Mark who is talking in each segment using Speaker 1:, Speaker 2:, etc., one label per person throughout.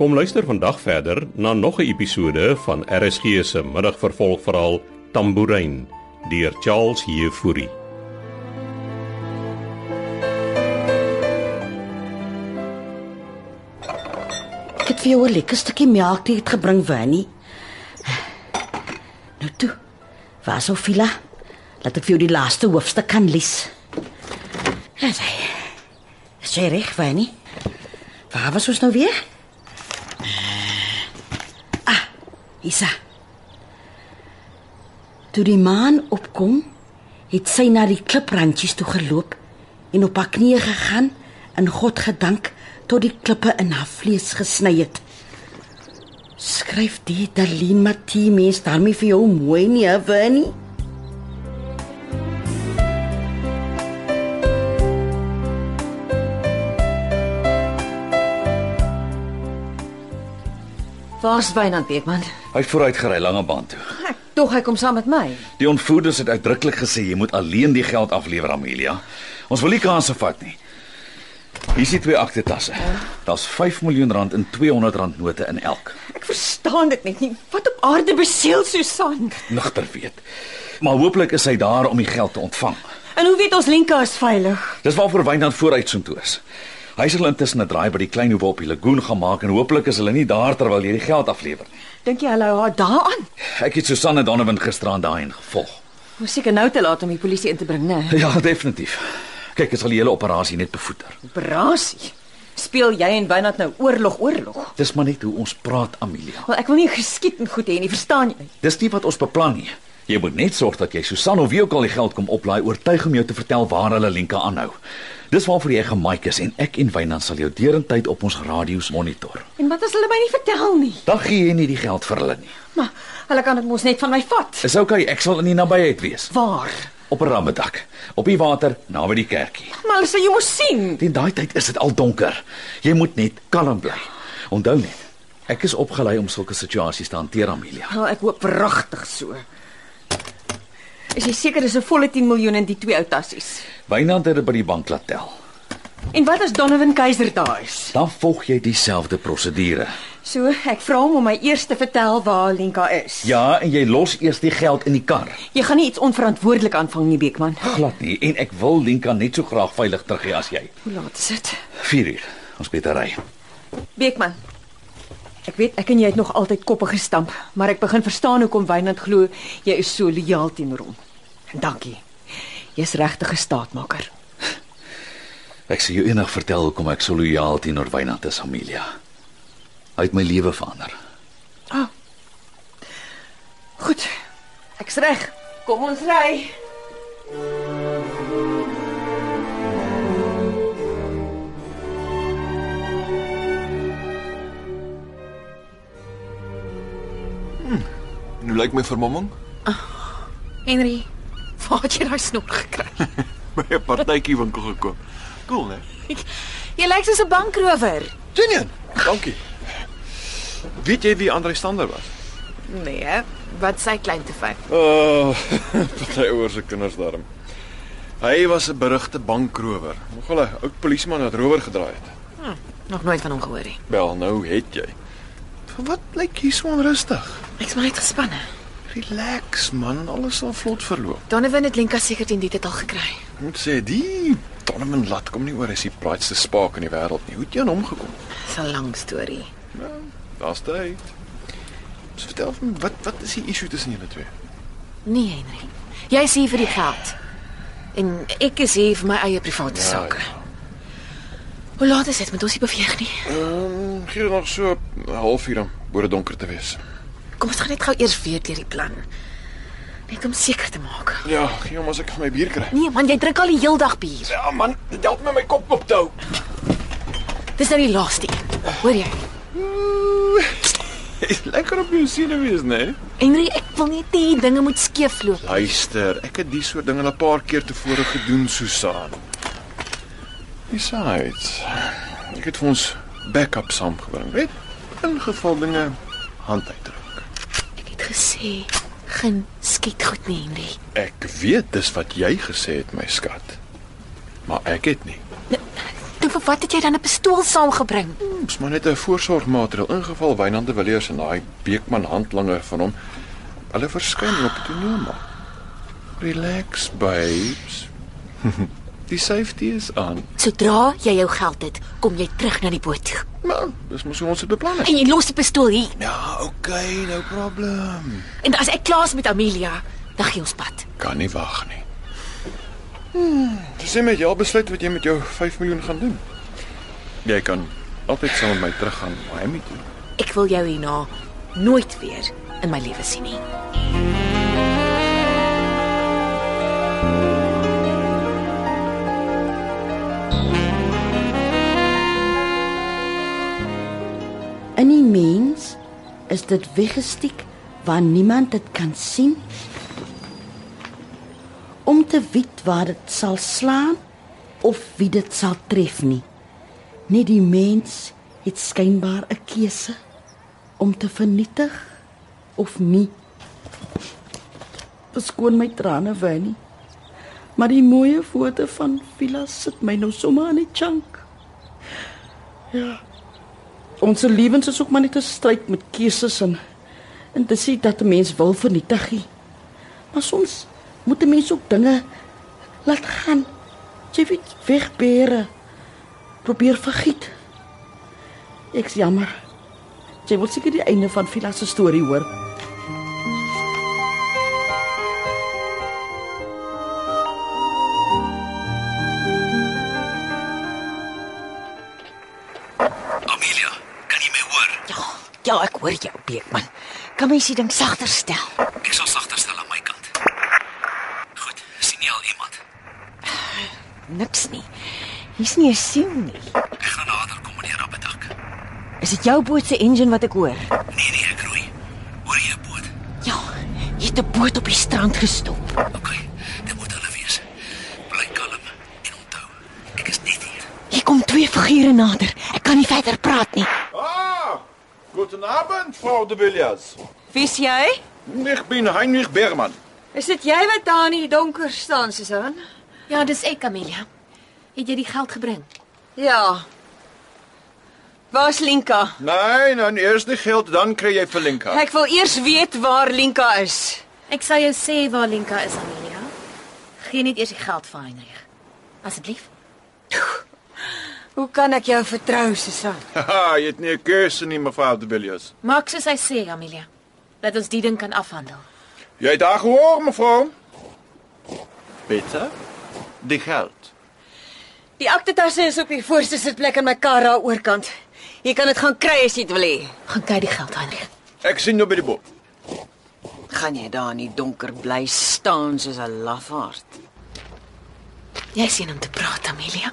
Speaker 1: Kom luister vandag verder na nog 'n episode van RSG se middagvervolgverhaal Tambourine deur Charles Heffury.
Speaker 2: Ek het vir jou 'n lekker stukkie melktee gebring, Winnie. Nou toe. Waar sou Fila? Laat ek vir jou die laaste hoofstuk kan lees. Dis hy. Is jy reg, Winnie? Waar was ons nou weer? Ah, Isa. Toe die maan opkom, het sy na die kliprandjies toe geloop en op haar knieë gegaan en God gedank tot die klippe in haar vlees gesny het. Skryf die Darlene Matthee mens daarmee vir jou mooi nie, Winnie?
Speaker 3: Waar's Wynand Beekman?
Speaker 4: Hy het vooruit gery lange baan toe.
Speaker 3: Ek tog hy kom saam met my.
Speaker 4: Die ontvoerders het uitdruklik gesê jy moet alleen die geld aflewer Amelia. Ons wil nie kanse vat nie. Hier is die twee akte tasse. Daar's 5 miljoen rand in 200 rand note in elk.
Speaker 3: Ek verstaan dit net nie. Wat op aarde beseel Susan?
Speaker 4: Nigter weet. Maar hooplik is hy daar om die geld te ontvang.
Speaker 3: En hoe weet ons Lenka is veilig?
Speaker 4: Dis waarvoor Wynand vooruit soontoe is. Hy sal intussen 'n draai by die klein hoeve op die lagoon gaan maak en hooplik is hulle nie daar terwyl jy die geld aflewer nie.
Speaker 3: Dink jy hulle hou haar daaraan?
Speaker 4: Ek het Susanne Donovan gisteraan daarin gevolg.
Speaker 3: Ons seker nou te laat om die polisie in te bring, né?
Speaker 4: Ja, definitief. Kyk, ek sal die hele operasie net bevoeter.
Speaker 3: Operasie. Speel jy en Wynand nou oorlog oorlog?
Speaker 4: Dis maar net hoe ons praat, Amelia.
Speaker 3: Wel, ek wil nie geskiet en goed hê nie, verstaan jy?
Speaker 4: Dis nie wat ons beplan nie. Jy moet net sorg dat jy Susan of wie ook al die geld kom oplaai, oortuig om jou te vertel waar hulle Lenka aanhou. Dis waarvoor jy gemaak is en ek en Wynand sal jou derentyd op ons radio's monitor.
Speaker 3: En wat as hulle my nie vertel nie?
Speaker 4: Dan gee jy nie die geld vir hulle nie.
Speaker 3: Maar hulle kan dit mos net van my vat.
Speaker 4: Is oukei, okay, ek sal in die nabyheid wees.
Speaker 3: Waar?
Speaker 4: Op 'n rammedak, op die water naby die kerkie.
Speaker 3: Maar hulle sê jy moet sien.
Speaker 4: Teen daai tyd is dit al donker. Jy moet net kalm bly. Onthou net, ek is opgelei om sulke situasies te hanteer, Amelia.
Speaker 3: Wel, ek hoop pragtig so. Is jy seker dis 'n volle 10 miljoen in die twee ou tassies?
Speaker 4: Wynand het dit by die bank laat tel.
Speaker 3: En wat as Donovan Keiser daar is?
Speaker 4: Dan volg jy dieselfde prosedure.
Speaker 3: So, ek vra hom om my eers te vertel waar Lenka is.
Speaker 4: Ja, en jy los eers die geld in die kar.
Speaker 3: Jy gaan nie iets onverantwoordelik aanvang nie, Beekman.
Speaker 4: Glad nie en ek wil Lenka net so graag veilig teruggee as jy.
Speaker 3: Hoe laat is dit?
Speaker 4: 4 uur. Ons beter ry.
Speaker 3: Beekman. Ek weet ek en jy het nog altyd koppe gestamp, maar ek begin verstaan hoekom Wynand glo jy is so lojaal teenoor hom. En dankie. Jy's regtig 'n staatmaker.
Speaker 4: Ek sê jou eendag vertel hoekom ek so lojaal teenoor Wynand is, Amelia. Hy het my lewe verander.
Speaker 3: Goed. Ek's reg. Kom ons ry.
Speaker 5: En hoe lyk my vermomming?
Speaker 6: Henry, waar het jy daai snor gekry?
Speaker 5: By 'n partytjie winkel gekoop. Cool, né?
Speaker 6: Jy lyk soos 'n bankrower.
Speaker 5: Genien. Dankie. Weet jy wie Andre Stander was?
Speaker 6: Nee, wat sy klein te fyn.
Speaker 5: O, oh, party ouers se kinders daarom. Hy was 'n berugte bankrower. Nogal 'n oud polisieman wat rower gedraai het.
Speaker 6: Hm, Nog nooit van hom gehoor nie.
Speaker 5: Wel, nou het jy. Wat lyk hier so onrustig?
Speaker 6: Ek's maar net gespanne.
Speaker 5: Relax man, alles sal vlot verloop.
Speaker 6: Donovan het Lenka seker teen dit het al gekry.
Speaker 5: Ek moet sê die Donovan laat kom nie oor as die braaiste spaak in die wêreld nie. Hoe het jy aan hom gekom?
Speaker 6: Dis 'n lang storie.
Speaker 5: Daar's tyd. So Dus vertel vir my, wat wat is die issue tussen julle twee?
Speaker 6: Nee, Henry. Jy's hier vir die geld. En ek is hier vir my eie private
Speaker 5: Ja,
Speaker 6: sake. Hoe laat is dit? Moet ons nie beweeg nie.
Speaker 5: Ehm, um, gee nog so 'n halfuur om voor dit donker te wees.
Speaker 6: Kom ons gaan net gou eers weer deur die plan. Net om seker te maak.
Speaker 5: Ja, gee hom as ek vir my bier kry.
Speaker 6: Nee man, jy drink al die heel dag bier.
Speaker 5: Ja man, dit help my my kop op te hou.
Speaker 6: Dis nou die laaste een. Hoor jy?
Speaker 5: Is lekker op jou sene wees, né?
Speaker 6: Henry, ek wil net hê dinge moet skeefloop.
Speaker 5: Luister, ek het die soort dinge al 'n paar keer tevore gedoen, Susan. Besides, ek het vir ons backup saamgebring, weet? In geval dinge hand uitdruk.
Speaker 6: Ek het gesê geen skiet goed nie, Henry.
Speaker 5: Ek weet dis wat jy gesê het, my skat. Maar ek het nie.
Speaker 6: Nou vir wat het jy dan 'n pistool saamgebring?
Speaker 5: Dis maar net 'n voorsorgmaatreël ingeval Wynand de Villiers en daai Beekman handlanger van hom. Hulle verskyn op die toneel maar. Relax, babes. Die safety is aan.
Speaker 6: Sodra jy jou geld het, kom jy terug na die boot toe.
Speaker 5: Maar dis mos hoe ons dit beplan het.
Speaker 6: En jy los die pistool hier.
Speaker 5: Ja, okay, no problem.
Speaker 6: En as ek klaar is met Amelia, dan gee ons pad.
Speaker 5: Kan nie wag nie. Hmm, sê my jy al besluit wat jy met jou 5 miljoen gaan doen. Jy kan altyd saam met my teruggaan Miami toe.
Speaker 6: Ek wil jou hierna nooit weer in my lewe sien Nee, nie.
Speaker 2: In die mens is dit weggesteek waar niemand dit kan sien. Om te weet waar dit sal slaan of wie dit sal tref nie. Net die mens het skynbaar 'n keuse om te vernietig of nie. Beskoon my trane Winnie. Maar die mooie foto van Vila sit my nou sommer aan die chunk. Ons lewens is ook maar net 'n stryd met keuses en en dit sê dat 'n mens wil vernietig. nie. Maar soms moet 'n mens ook dinge laat gaan. Jy weet, wegbere. Probeer vergiet. Ek's jammer. Jy wil seker die einde van Vila se storie hoor.
Speaker 4: Amelia, kan jy my hoor?
Speaker 3: Ja, ja, ek hoor jou, Beekman. Kan mens die ding sagter stel?
Speaker 4: Ek sal sagter stel aan my kant. Goed, sien jy al iemand?
Speaker 3: Niks nie. Hier's nie 'n siel nie.
Speaker 4: Ek gaan nader kom meneer Rabbetak.
Speaker 3: Is dit jou boot se engine wat ek hoor?
Speaker 4: Nee nee, ek roei. Hoor jy 'n boot?
Speaker 3: Ja, jy het 'n boot op die strand gestop.
Speaker 4: OK, dit moet hulle wees. Bly kalm en onthou, ek is net hier.
Speaker 3: Hier kom twee figure nader. Ek kan nie verder praat nie.
Speaker 5: Ah! Guten Abend, Frau de Villiers.
Speaker 3: Wie's jy?
Speaker 5: Ich bin Heinrich Bergmann.
Speaker 3: Is dit jy wat daar in die donker staan, Susan?
Speaker 6: Ja, dis ek, Amelia. Het jy die geld gebring?
Speaker 3: Ja. Waar's Linka?
Speaker 5: Nee, dan eers die geld, dan kry jy vir Linka.
Speaker 3: Ek wil eers weet waar Linka is.
Speaker 6: Ek sal jou sê waar Lenka is, Amelia. Geen net eers die geld vir Heinrich. Asseblief.
Speaker 3: Hoe kan ek jou vertrou, Susan?
Speaker 5: Haha, jy het nie 'n keuse nie, mevrou de Villiers.
Speaker 6: Maak soos hy sê, Amelia. Dat ons die ding kan afhandel.
Speaker 5: Jy het daar gehoor, mevrou? Bitte? Die geld.
Speaker 3: Die aktetasse is op die voorste sitplek in my kar daar oorkant. Jy kan dit gaan kry as jy dit wil hê.
Speaker 6: Gaan kyk die geld, Heinrich.
Speaker 5: Ek sien jou by die boot.
Speaker 3: Gaan jy daar in die donker bly staan soos 'n lafaard?
Speaker 6: Jy sien hom te praat, Amelia.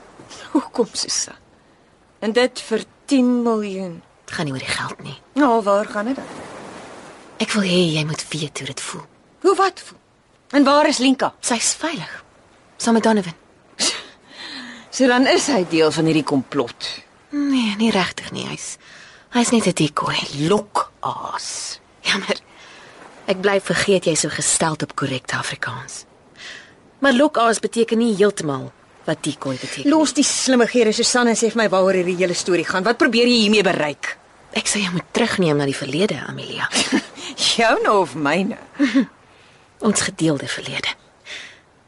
Speaker 3: Hoekom, Susan? En dit vir 10 miljoen.
Speaker 6: Dit gaan nie oor die geld nie.
Speaker 3: Nou, waar gaan dit dan?
Speaker 6: Ek wil hê jy moet weet hoe dit voel.
Speaker 3: Hoe wat? voel? En waar is Linka?
Speaker 6: Sy's veilig. Saam met Donovan.
Speaker 3: So dan is hy deel van hierdie komplot.
Speaker 6: Nee, nie regtig nie. Hy's hy's net 'n decoy.
Speaker 3: Lok aas.
Speaker 6: Jammer. Ek bly vergeet jy's so gestel op korrekte Afrikaans. Maar lokaas beteken nie heeltemal wat decoy beteken. nie.
Speaker 3: Los die slimmigere Susan en sê vir my waaroor hierdie hele storie gaan. Wat probeer jy hiermee bereik?
Speaker 6: Ek sê jy moet terugneem na die verlede, Amelia.
Speaker 3: Joune nou of myne?
Speaker 6: Ons gedeelde verlede.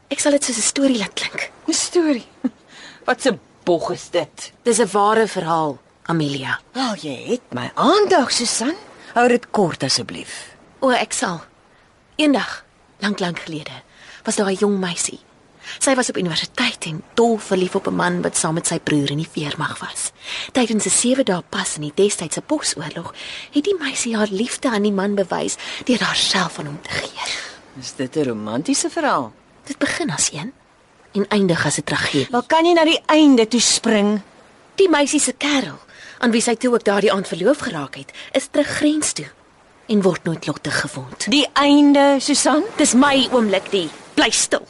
Speaker 6: Ek sal dit soos 'n storie laat klink.
Speaker 3: 'n Storie. Wat 'n bog is dit?
Speaker 6: Dis 'n ware verhaal, Amelia.
Speaker 3: Wel, jy het my aandag, Susan. Hou dit kort asseblief.
Speaker 6: O, ek sal. Eendag, lank lank gelede, was daar 'n jong meisie. Sy was op universiteit en dol verlief op 'n man wat saam met sy broer in die weermag was. Tydens 'n 7 dae pas in die destydse Bosoorlog het die meisie haar liefde aan die man bewys deur haarself aan hom te gee.
Speaker 3: Is dit 'n romantiese verhaal?
Speaker 6: Dit begin as een en eindig as 'n tragedie.
Speaker 3: Wel kan jy na die einde toe spring.
Speaker 6: Die meisie se kerel, aan wie sy toe ook daardie aand verloof geraak het, is terug grens toe en word nooit lottig gewond.
Speaker 3: Die einde, Susan?
Speaker 6: Dis my oomblik die. Bly stil.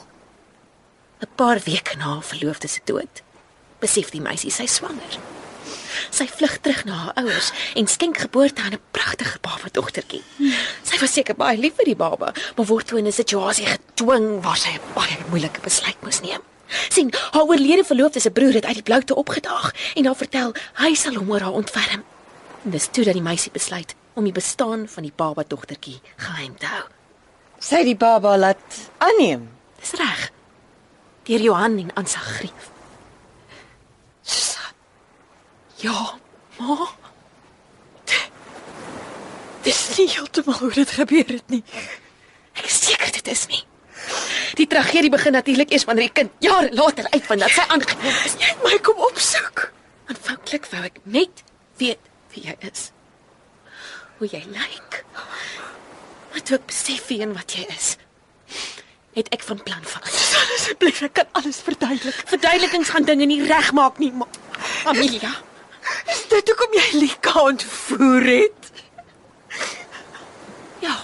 Speaker 6: 'n Paar weke na haar verloofde se dood, besef die meisie sy swanger. Sy vlug terug na haar ouers en skenk geboorte aan 'n pragtige baba dogtertjie. Sy was seker baie lief vir die baba, maar word toe in 'n situasie gedwing waar sy 'n baie moeilike besluit moes neem. sien, haar oorlede verloofde se broer het uit die bloute opgedaag en haar vertel hy sal hom oor haar ontferm. En dis toe dat die meisie besluit om die bestaan van die baba dogtertjie geheim te hou.
Speaker 3: Sy die baba laat aanneem.
Speaker 6: Dis reg. Deur Johan en Ansa Grief. Susan. Ja, ma. D- Dis nie heeltemal hoe dit gebeur het nie. Ek is seker dit is nie. Die tragedie begin natuurlik eers wanneer die kind jare later uitvind dat sy aangeneem is. Jy my kom opsoek. Aanvanklik wou ek net weet wie jy is. Hoe jy lyk. Maar toe ek besef wie en wat jy is, het ek van plan verander. Asseblief, ek kan alles verduidelik. Verduidelikings gaan dinge nie regmaak nie, ma. ja? Amelia. Is dit hoekom jy Lika ontvoer het? Ja.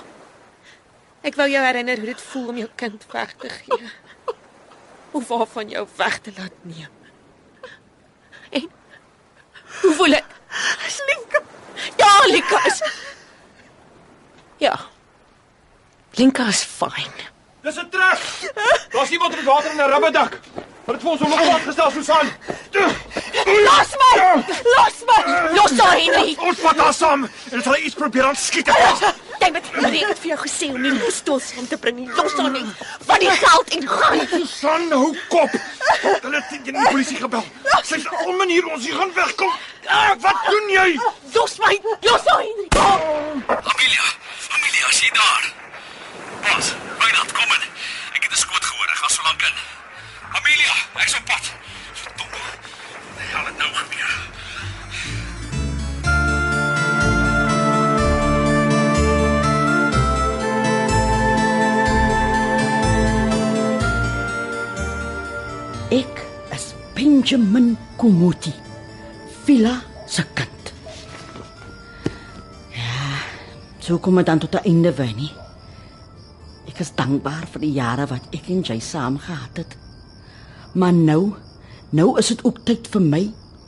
Speaker 6: Ek wou jou herinner hoe dit voel om jou kind weg te gee. Of waarvan jou weg te laat neem. En hoe voel ek? Is Lika? Ja, Lika is Ja. Linka is fyn.
Speaker 7: Dis 'n trek. Daar's iemand met water in 'n rubberdak. Hulle het vir ons hom op pad gestel, Susan.
Speaker 6: Los my! Los my! Los haar nie.
Speaker 7: Ons vat haar saam en as hulle iets probeer aan skiet.
Speaker 6: Jy moet weet het vir jou gesê om nie pistols saam te bring nie. Los haar nie. Van die geld en gaan.
Speaker 7: Susan, hou kop. Hulle het teen die polisie gebel. Sy's op 'n manier ons hier gaan wegkom. Ah, wat doen jy?
Speaker 6: Los my! Los haar nie.
Speaker 4: Amelia, Amelia, as jy daar. Pas, Wynand, kom in. Ek het 'n skoot gehoor. Ek gaan so lank in. Amelia, ek's op pad. Verdomme. Ja, dit nou gebeur.
Speaker 2: Ek is Benjamin Komuti, Villa se kind. Ja, so kom dit dan tot 'n einde wy nie. Ek is dankbaar vir die jare wat ek en jy saam gehad het. Maar nou, nou is dit ook tyd vir my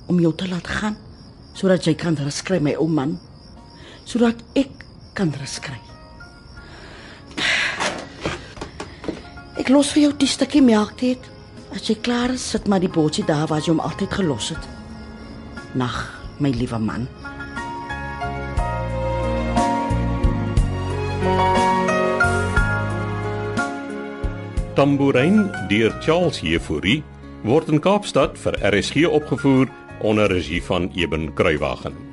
Speaker 2: om jou te laat gaan sodat jy kan rus kry my ou man, sodat ek kan rus kry. Ek los vir jou die stukkie melktee. As jy klaar is, sit maar die botjie daar waar jy hom altyd gelos het. Nag, my liewe man.
Speaker 1: Tambourin deur Charles Heffouri word in Kaapstad vir RSG opgevoer onder regie van Eben Kruiwagen.